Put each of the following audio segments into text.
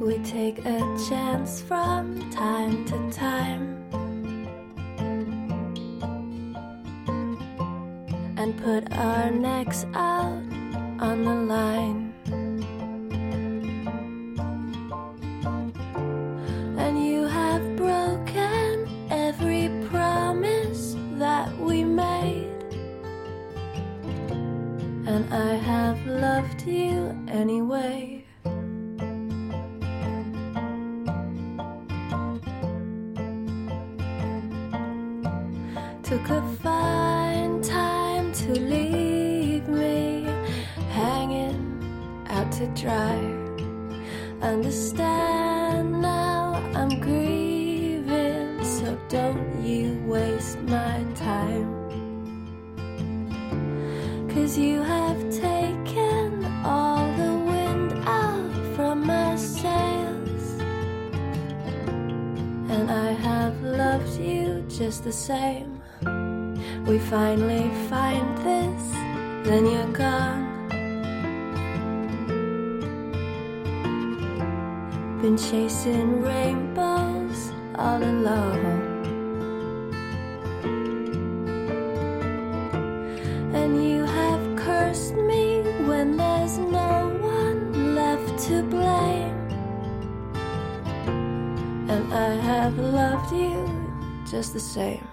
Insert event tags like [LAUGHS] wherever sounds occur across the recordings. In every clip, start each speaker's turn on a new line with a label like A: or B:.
A: We take a chance from time to time and put our necks out on the line. And you have broken every promise that we made. And I have loved you anyway. Took a fine time to leave me hanging out to dry. Understand now I'm grieving, so don't you waste my time. Cause you have taken all the wind out from my sails. And I have loved you just the same. We finally find this, then you're gone. Been chasing rainbows all along. And you have cursed me when there's no one left to blame. And I have loved you just the same.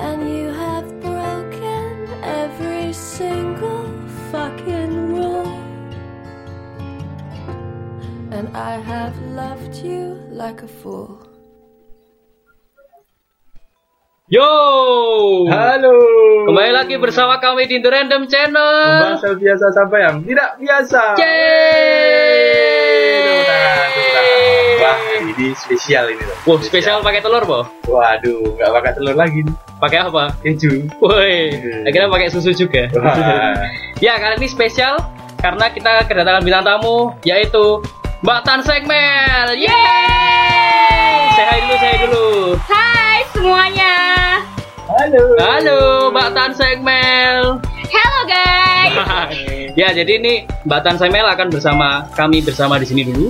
A: And you have broken every single fucking rule. And I have loved you like a fool.
B: Yo,
C: Halo.
B: kembali lagi bersama kami di The Random Channel.
C: Membahas hal biasa sampai yang tidak biasa.
B: Yeay.
C: Tepuk tangan, tepuk tangan. Wah, ini spesial ini loh.
B: Wah, spesial pakai telur, Bo.
C: Waduh, nggak pakai telur lagi nih.
B: Pakai apa?
C: Keju.
B: Woi,
C: Hmm.
B: akhirnya pakai susu juga.
C: Wah.
B: ya, kali ini spesial karena kita kedatangan bintang tamu yaitu Mbak Tan Segmel. Yeay! Saya hai dulu, saya hai dulu.
D: Hai semuanya.
C: Halo.
B: Halo, Mbak Tan Segmel.
D: Hello guys.
B: [LAUGHS] ya, jadi ini Mbak Tan Segmel akan bersama kami bersama di sini dulu.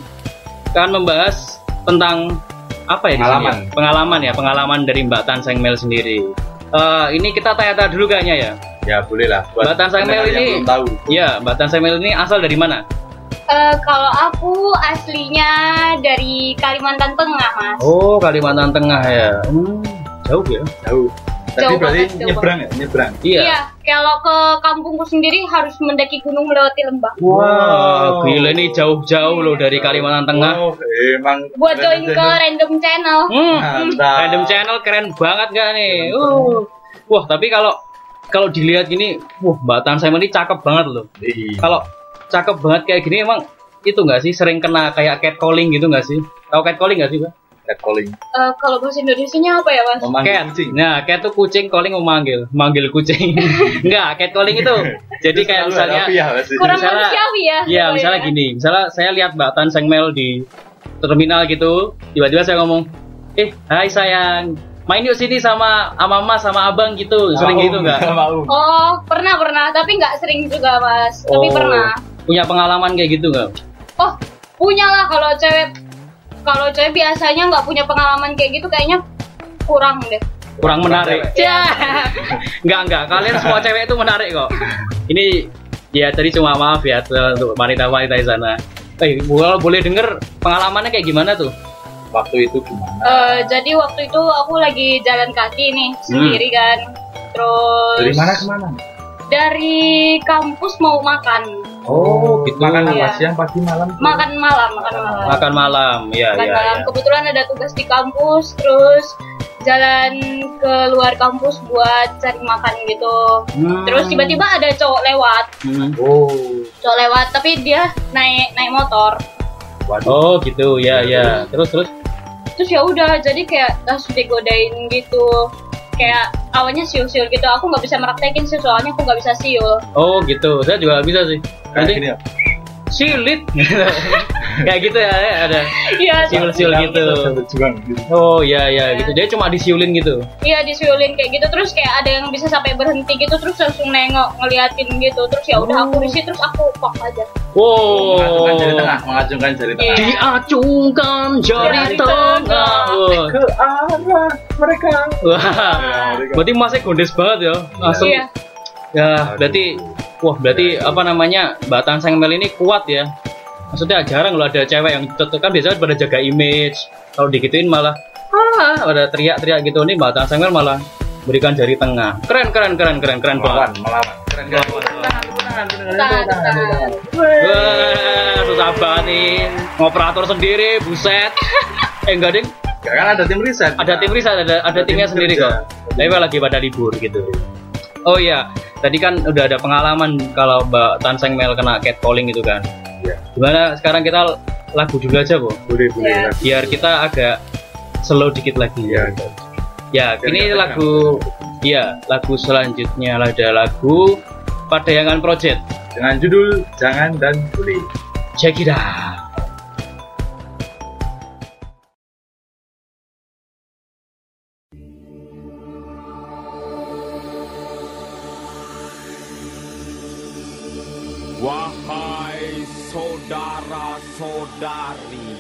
B: Akan membahas tentang apa ya di sini
C: Pengalaman.
B: ya? Pengalaman ya, pengalaman dari Mbak Tan Segmel sendiri. Eh, ini kita tanya-tanya dulu kayaknya ya.
C: Ya boleh lah. buat
B: Batang Sang Mel
C: pendengar yang
B: ini-
C: belum tahu.
B: Iya, Mbak Tan Segmel ini asal dari mana?
D: Eh, kalau aku aslinya dari Kalimantan Tengah mas.
B: Oh, Kalimantan Tengah ya. Hmm, jauh ya?
C: Jauh. Tadi
D: Jauh
C: berarti
D: banget, jauh
C: nyebrang ya, nyebrang.
B: Iya.
D: Kalau ke kampungku sendiri harus mendaki gunung melewati lembah.
B: Wah, gila ini jauh-jauh loh dari Kalimantan Tengah.
C: Oh, emang.
D: Buat join ke random channel.
B: Hmm,
C: Mantap.
B: random channel keren banget gak nih? Uh. Wah, tapi kalau kalau dilihat gini, wah Mbak Tan Simon ini cakep banget loh.
C: Ih,
B: Kalau cakep banget kayak gini emang itu nggak sih sering kena kayak catcalling gitu nggak sih? Tahu catcalling nggak sih, Mbak?
C: catcalling.
D: Eh, kalau bahasa Indonesia-nya apa ya mas?
C: Memanggil
B: Cat.
C: kucing.
B: Nah, cat tuh kucing, calling memanggil, manggil
C: [LAUGHS]
B: kucing. Enggak, catcalling itu. Jadi
C: Terus
B: kayak
C: selalu
B: misalnya
C: ada ya? Alfiah pasti.
D: Kurang
B: misalnya-
D: manusiawi ya.
B: Iya,
D: Oh,
B: misalnya gini, misalnya saya lihat Mbak Tan Sengmel di terminal gitu, tiba-tiba saya ngomong, eh, hai sayang, main yuk sini sama sama mas sama abang gitu, sering gitu nggak?
C: Mau.
D: Oh pernah pernah, tapi nggak sering juga mas. Tapi
B: Oh,
D: pernah.
B: Punya pengalaman kayak gitu nggak?
D: Oh punya lah kalau cewek. Kalau cewek biasanya nggak punya pengalaman kayak gitu kayaknya kurang deh.
B: Kurang menarik.
C: cewek.
D: [LAUGHS]
B: Ya, nggak nggak. Kalian
C: [LAUGHS]
B: semua cewek itu menarik kok. Ini ya tadi cuma maaf ya untuk wanita-wanita di sana. Eh, kalau boleh denger pengalamannya kayak gimana tuh?
C: Waktu itu gimana?
D: Eh, jadi waktu itu aku lagi jalan kaki nih
B: Hmm.
D: sendiri kan. Terus
C: Dari mana ke mana?
D: dari kampus mau makan,
C: Oh, gitu. Makan apa
D: Iya.
C: siang pagi malam? tuh?
D: makan malam, makan malam.
B: Hmm. Makan malam, ya
D: Makan
B: ya.
D: malam.
B: ya.
D: Kebetulan ada tugas di kampus, terus jalan keluar kampus buat cari makan gitu.
B: Hmm.
D: Terus tiba-tiba ada cowok lewat,
B: Hmm.
C: Oh,
D: cowok lewat tapi dia naik naik motor.
C: waduh. Iya,
B: Oh gitu ya ya Iya, terus terus
D: terus ya udah jadi kayak langsung digodain gitu kayak awalnya siul-siul gitu aku nggak bisa meraktekin sih soalnya aku nggak bisa siul
B: Oh gitu, saya juga nggak bisa sih.
C: Kayak
B: Nanti
C: gini ya.
B: silit, [LAUGHS] kayak gitu ya ya, ada
D: iya
B: siul siul
C: kan
B: gitu.
C: Saya berjuang gitu.
B: Oh iya iya gitu, dia cuma disiulin gitu.
D: iya disiulin kayak gitu terus kayak ada yang bisa sampai berhenti gitu terus langsung nengok ngeliatin gitu terus ya udah aku risih terus aku pok aja
B: Wow,
C: Mengacungkan jari tengah, mengacungkan jari tengah.
D: Iya.
B: diacungkan jari
D: Jari
B: tengah. Wah.
C: Ke arah mereka.
B: Wah,
C: Iya, mereka.
B: berarti masih gondes banget ya, langsung.
D: iya
B: Ya, berarti wah berarti apa namanya Mbak Tan Sang Mel ini kuat ya. Maksudnya jarang loh ada cewek yang tetep- kan biasanya pada jaga image. Kalau digituin malah ah pada teriak-teriak gitu nih Mbak Tan Sang Mel malah berikan jari tengah. Keren keren keren keren keren banget.
C: Melawan, melawan. Keren keren.
D: tahan, tahan.
B: Wah, susah banget nih. Ngoperator sendiri, buset. Eh enggak ding,
C: Ya kan ada tim riset.
B: ada tim riset ada, ada
C: tim
B: timnya sendiri
C: kerja.
B: kok tapi lagi pada libur gitu oh iya tadi kan udah ada pengalaman kalau mbak Tanseng Mel kena catcalling gitu kan
C: Iya.
B: gimana sekarang kita lagu dulu aja kok
C: Boleh boleh.
D: Ya.
C: Mas.
B: biar kita agak slow dikit lagi
C: Iya.
B: ya
C: Biar
B: ini
C: nggak
B: lagu iya lagu selanjutnya ada lagu Padayangan Project
C: Dengan judul jangan dan boleh.
B: check it out
E: Wahai saudara-saudari,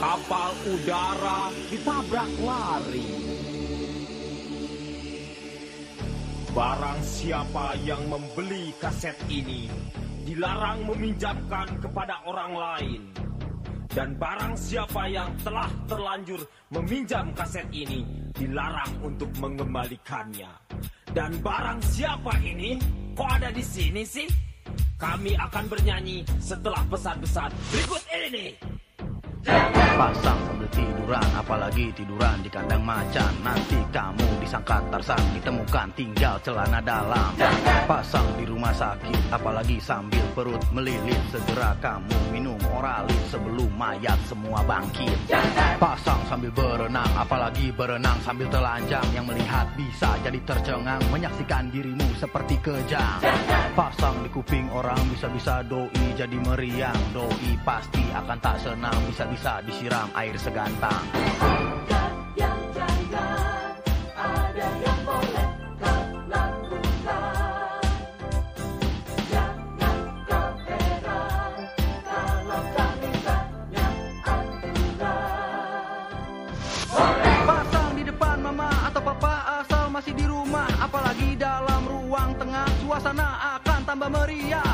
E: kapal udara ditabrak lari. Barang siapa yang membeli kaset ini dilarang meminjamkan kepada orang lain. Dan barang siapa yang telah terlanjur meminjam kaset ini dilarang untuk mengembalikannya. Dan barang siapa ini kok ada di sini sih? Kami akan bernyanyi setelah pesan-pesan berikut ini.
F: Pasang sambil tiduran, apalagi tiduran di kandang macan Nanti kamu disangka tarsan, ditemukan tinggal celana dalam Pasang di rumah sakit, apalagi sambil perut melilit Segera kamu minum oralit sebelum mayat semua bangkit Pasang sambil berenang, apalagi berenang sambil telanjang Yang melihat bisa jadi tercengang, menyaksikan dirimu seperti kejang Pasang di kuping orang, bisa-bisa doi jadi meriang Doi pasti akan tak senang, bisa-bisa disiram air segantang Pasang di depan mama atau papa asal masih di rumah Apalagi dalam ruang tengah suasana akan tambah meriah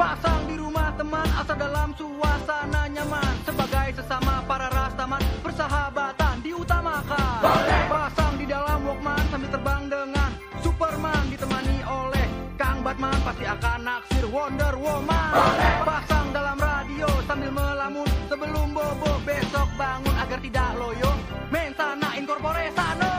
F: Pasang di rumah teman asal dalam suasana nyaman Sebagai sesama para rastaman persahabatan diutamakan Pasang di dalam walkman sambil terbang dengan Superman ditemani oleh Kang Batman pasti akan naksir Wonder Woman Pasang dalam radio sambil melamun Sebelum bobo besok bangun agar tidak loyo Mensana incorpore sano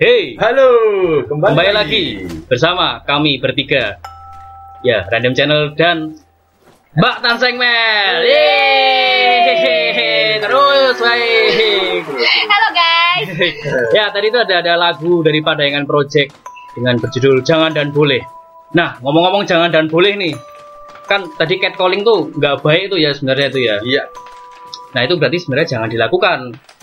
B: hey
C: Halo, kembali,
B: kembali lagi bersama kami bertiga ya random channel dan Mbak Tanseng Mel Yeay. terus baik
D: halo guys
B: ya tadi itu ada ada lagu dari Padayangan Project dengan berjudul Jangan dan Boleh nah ngomong-ngomong Jangan dan Boleh nih kan tadi catcalling tuh nggak baik tuh ya sebenarnya itu ya
C: Iya,
B: nah itu berarti sebenarnya jangan dilakukan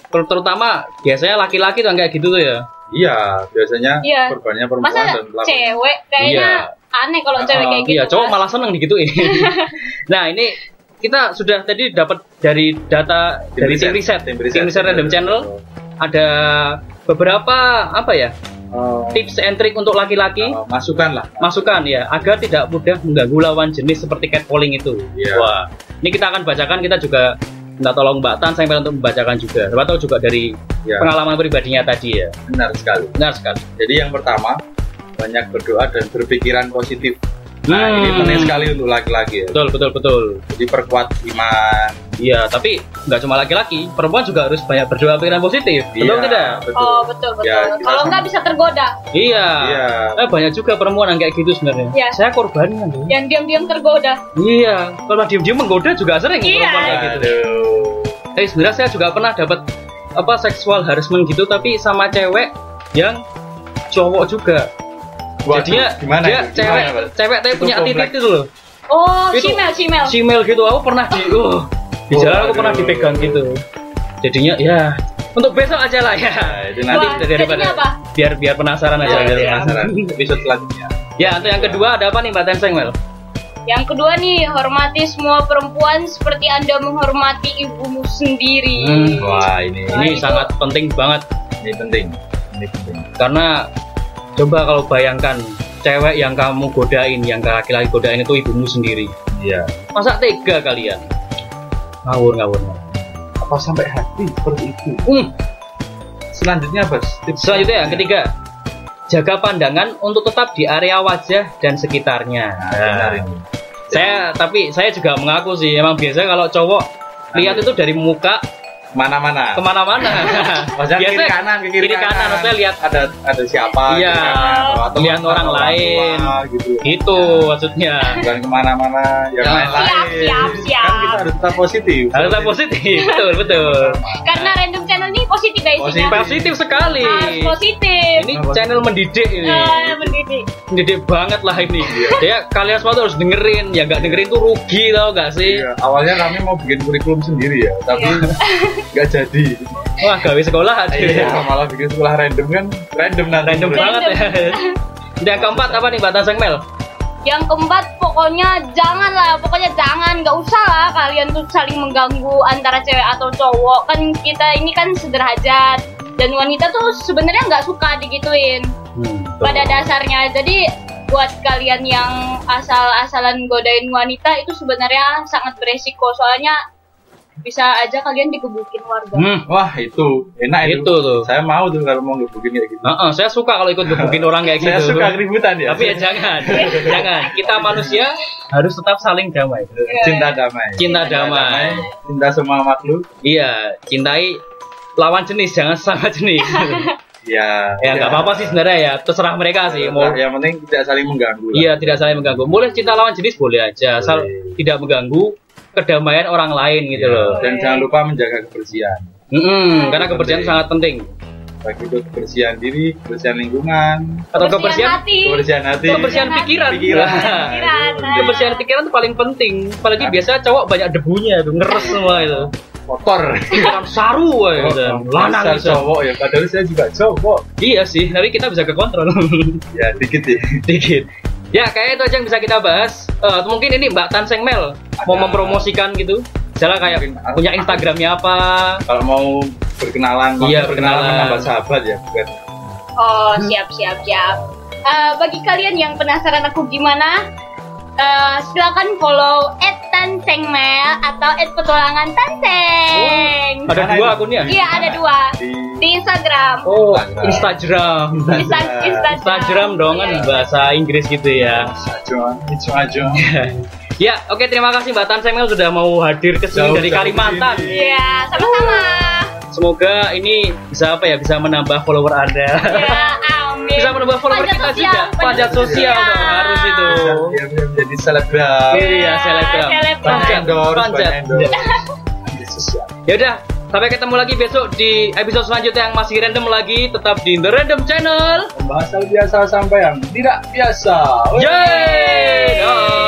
B: Ter- terutama biasanya laki-laki tuh yang kayak gitu tuh ya
C: Iya, biasanya
D: Iya.
C: korbannya perempuan
D: Masa
C: dan pelakunya.
D: cewek kayaknya aneh kalau cewek kayak gitu.
B: iya, cowok
D: Mas.
B: malah seneng digituin. nah, ini kita sudah tadi dapat dari data
C: Tim
B: dari tim riset, tim riset, random channel ada beberapa apa ya
C: Oh,
B: tips and trick untuk laki-laki
C: oh, masukan lah.
B: masukan ya agar tidak mudah mengganggu lawan jenis seperti catcalling itu.
C: Iya.
B: Wah, ini kita akan bacakan kita juga minta tolong Mbak Tan sampai untuk membacakan juga. Siapa tahu juga dari
C: Iya,
B: pengalaman pribadinya tadi ya.
C: benar sekali.
B: Benar sekali.
C: Jadi yang pertama banyak berdoa dan berpikiran positif. Nah, ini
B: Hmm.
C: penting sekali untuk laki-laki ya.
B: Betul, betul, betul.
C: Jadi perkuat iman.
B: Iya, tapi nggak cuma laki-laki, perempuan juga harus banyak berdoa pikiran positif. Betul
C: Iya,
B: tidak?
C: Betul.
D: Oh betul betul.
C: Ya, kita
D: kalau
C: sama.
D: nggak bisa tergoda.
B: Iya.
C: Iya.
B: Eh, banyak juga perempuan yang kayak gitu sebenarnya.
D: Iya.
B: Saya korbannya. loh.
D: Yang diam-diam tergoda.
B: Iya. Kalau diem-diem menggoda juga sering
D: Iya.
B: perempuan kayak gitu.
C: Aduh.
B: Eh sebenarnya saya juga pernah dapat apa seksual harassment gitu tapi sama cewek yang cowok juga.
C: Waduh,
B: Jadinya
C: gimana
B: dia
C: itu?
B: cewek
C: Gimana, Pak?
B: cewek tapi
C: Itu
B: punya
C: komplek.
B: titik itu loh.
D: Oh
B: Itu-
D: simel simel.
B: Simel gitu aku pernah di uh,
C: Oh,
B: di jalan aku
C: Waduh.
B: pernah dipegang gitu. Jadinya ya untuk besok aja lah ya.
C: Nah, itu nanti Iya,
B: Nanti
D: Wah,
B: daripada
D: jadinya apa?
B: biar biar penasaran aja.
C: Biar
B: Ya.
C: penasaran. episode selanjutnya.
B: Ya, untuk yang kedua ada apa nih Mbak Tenseng Mel?
D: Yang kedua nih hormati semua perempuan seperti anda menghormati ibumu sendiri.
B: Hmm,
C: Wah, ini
D: Wah,
B: Ini
D: itu-
B: sangat penting banget
C: ini penting. Ini penting.
B: karena coba kalau bayangkan cewek yang kamu godain, yang laki-laki godain itu ibumu sendiri.
C: Iya.
B: masa tega kalian ngawur ngawur ngawur.
C: Apa sampai hati seperti itu?
B: hmm.
C: Selanjutnya apa? Tips
B: selanjutnya yang ketiga jaga pandangan untuk tetap di area wajah dan sekitarnya
C: Nah, benar ini.
B: saya tapi saya juga mengaku sih emang biasa kalau cowok lihat itu dari muka
C: Mana-mana.
B: kemana-mana
C: [LAUGHS] Maksudnya kiri
B: biasanya
C: kanan, kiri,
B: kiri kanan, maksudnya lihat-
C: ada ada siapa,
B: Iya.
C: kiri kanan, atau- atau
B: Lihat orang lain.
C: tua, gitu.
B: gitu maksudnya
C: Bukan kemana-mana, yang
B: Nah.
C: lain-lain.
D: Siap, siap, siap.
C: Kan kita harus tetap positif.
B: harus tetap positif
C: [LAUGHS]
B: betul betul
D: Karena random channel ini positif guys.
C: Positif.
B: positif sekali
D: Harus positif.
B: ini channel mendidik ini
C: iya.
D: Ah, mendidik.
B: mendidik banget lah ini ya kalian semua tuh harus dengerin ya nggak dengerin tuh rugi tau gak sih
C: Iya, awalnya kami mau bikin kurikulum sendiri ya, tapi
B: Iya.
C: [LAUGHS] nggak jadi.
B: wah gawe sekolah aja
C: Iya, [LAUGHS] malah bikin sekolah random kan, random nanti.
B: random banget ya.
C: Iya.
B: Yang keempat apa nih Mbak Tanseng Mel?
D: Yang keempat pokoknya jangan lah, pokoknya jangan, nggak usah lah kalian tuh saling mengganggu antara cewek atau cowok. Kan kita ini kan sederajat dan wanita tuh sebenarnya nggak suka digituin
B: Hmm,
D: pada dasarnya. Jadi buat kalian yang asal-asalan godain wanita itu sebenarnya sangat beresiko soalnya bisa aja kalian dikebukin warga.
B: Hmm.
C: Wah itu enak itu.
B: Itu tuh.
C: Saya mau tuh kalau mau ngebukin kayak gitu.
B: Heeh, saya suka kalau ikut gebukin orang kayak gitu.
C: Saya suka keributan ya.
B: Tapi ya jangan, jangan. Kita manusia harus tetap saling damai.
C: cinta damai.
B: Cinta damai.
C: Cinta semua makhluk.
B: Iya, cintai lawan jenis, jangan sama jenis. [LAUGHS]
C: Ya.
B: ya nggak apa-apa sih sebenarnya ya, terserah mereka sih. Mau
C: Yang penting tidak saling mengganggu. lah.
B: Iya, tidak saling mengganggu. Boleh cinta lawan jenis boleh aja, asal
C: Boleh.
B: tidak mengganggu kedamaian orang lain gitu
C: Iya.
B: loh.
C: Dan jangan lupa menjaga kebersihan.
B: Mm-mm, karena kebersihan
C: Penting.
B: sangat penting.
C: Baik itu kebersihan diri, kebersihan lingkungan,
B: Atau kebersihan
D: hati.
C: kebersihan hati.
B: kebersihan pikiran.
C: Pikiran.
D: Pikiran. nah.
B: kebersihan pikiran itu paling penting. Apalagi biasa cowok banyak debunya itu ngeres semua itu.
C: [LAUGHS] Kotor.
B: Pikiran saru woy,
C: Oh, [LAUGHS]
B: gitu.
C: dasar
B: lanang gitu.
C: cowok ya. Padahal saya juga cowok.
B: Iya sih, tapi kita bisa ke kontrol [LAUGHS]
C: Ya dikit ya.
B: dikit. Ya, kayaknya itu aja yang bisa kita bahas. Eh, mungkin ini Mbak Tan Seng Mel mau
C: Ada.
B: mempromosikan gitu. Misalnya kayak
C: Mungkin aku-
B: punya Instagramnya apa.
C: Kalau mau berkenalan, kalau
B: Iya,
C: berkenalan
B: berkenalan.
C: menambah sahabat ya. Bukan.
D: Oh, siap, siap, siap. Eh, bagi kalian yang penasaran aku gimana, eh, silakan follow @tansengmel atau @petualangan_tanseng.
B: Ada
C: Mana
B: dua
C: itu?
B: akunnya.
D: Iya, ada dua
C: Di
D: di Instagram.
B: Oh,
C: Instagram.
B: Instagram.
D: Insta- Instagram.
B: Instagram dong kan
C: Iya.
B: bahasa Inggris gitu ya.
C: Ajuan, itu
B: [LAUGHS] Oh.
C: ajuan.
B: Ya, oke terima kasih Mbak Tan Seng Mel sudah mau hadir ke sini
C: Jauh-jauh
B: dari Kalimantan.
C: kesini.
D: Iya, sama-sama.
B: Semoga ini bisa apa ya bisa menambah follower Anda.
D: Ya, amin.
B: bisa menambah follower
D: Pajak
B: kita
D: sosial,
B: juga. Pajak sosial dong, harus itu.
C: Dia bisa menjadi selebgram.
D: Iya,
B: Iya, selebgram.
C: Banyak
D: selebgram.
B: Panjat,
C: Iya, endorse,
B: panjat.
C: banyak endorse. Yesus ya.
B: Ya udah, sampai ketemu lagi besok di episode selanjutnya yang masih random lagi tetap di The Random Channel.
C: Pembahasan biasa sampai yang tidak biasa. Wih.
B: Yeay! Dah.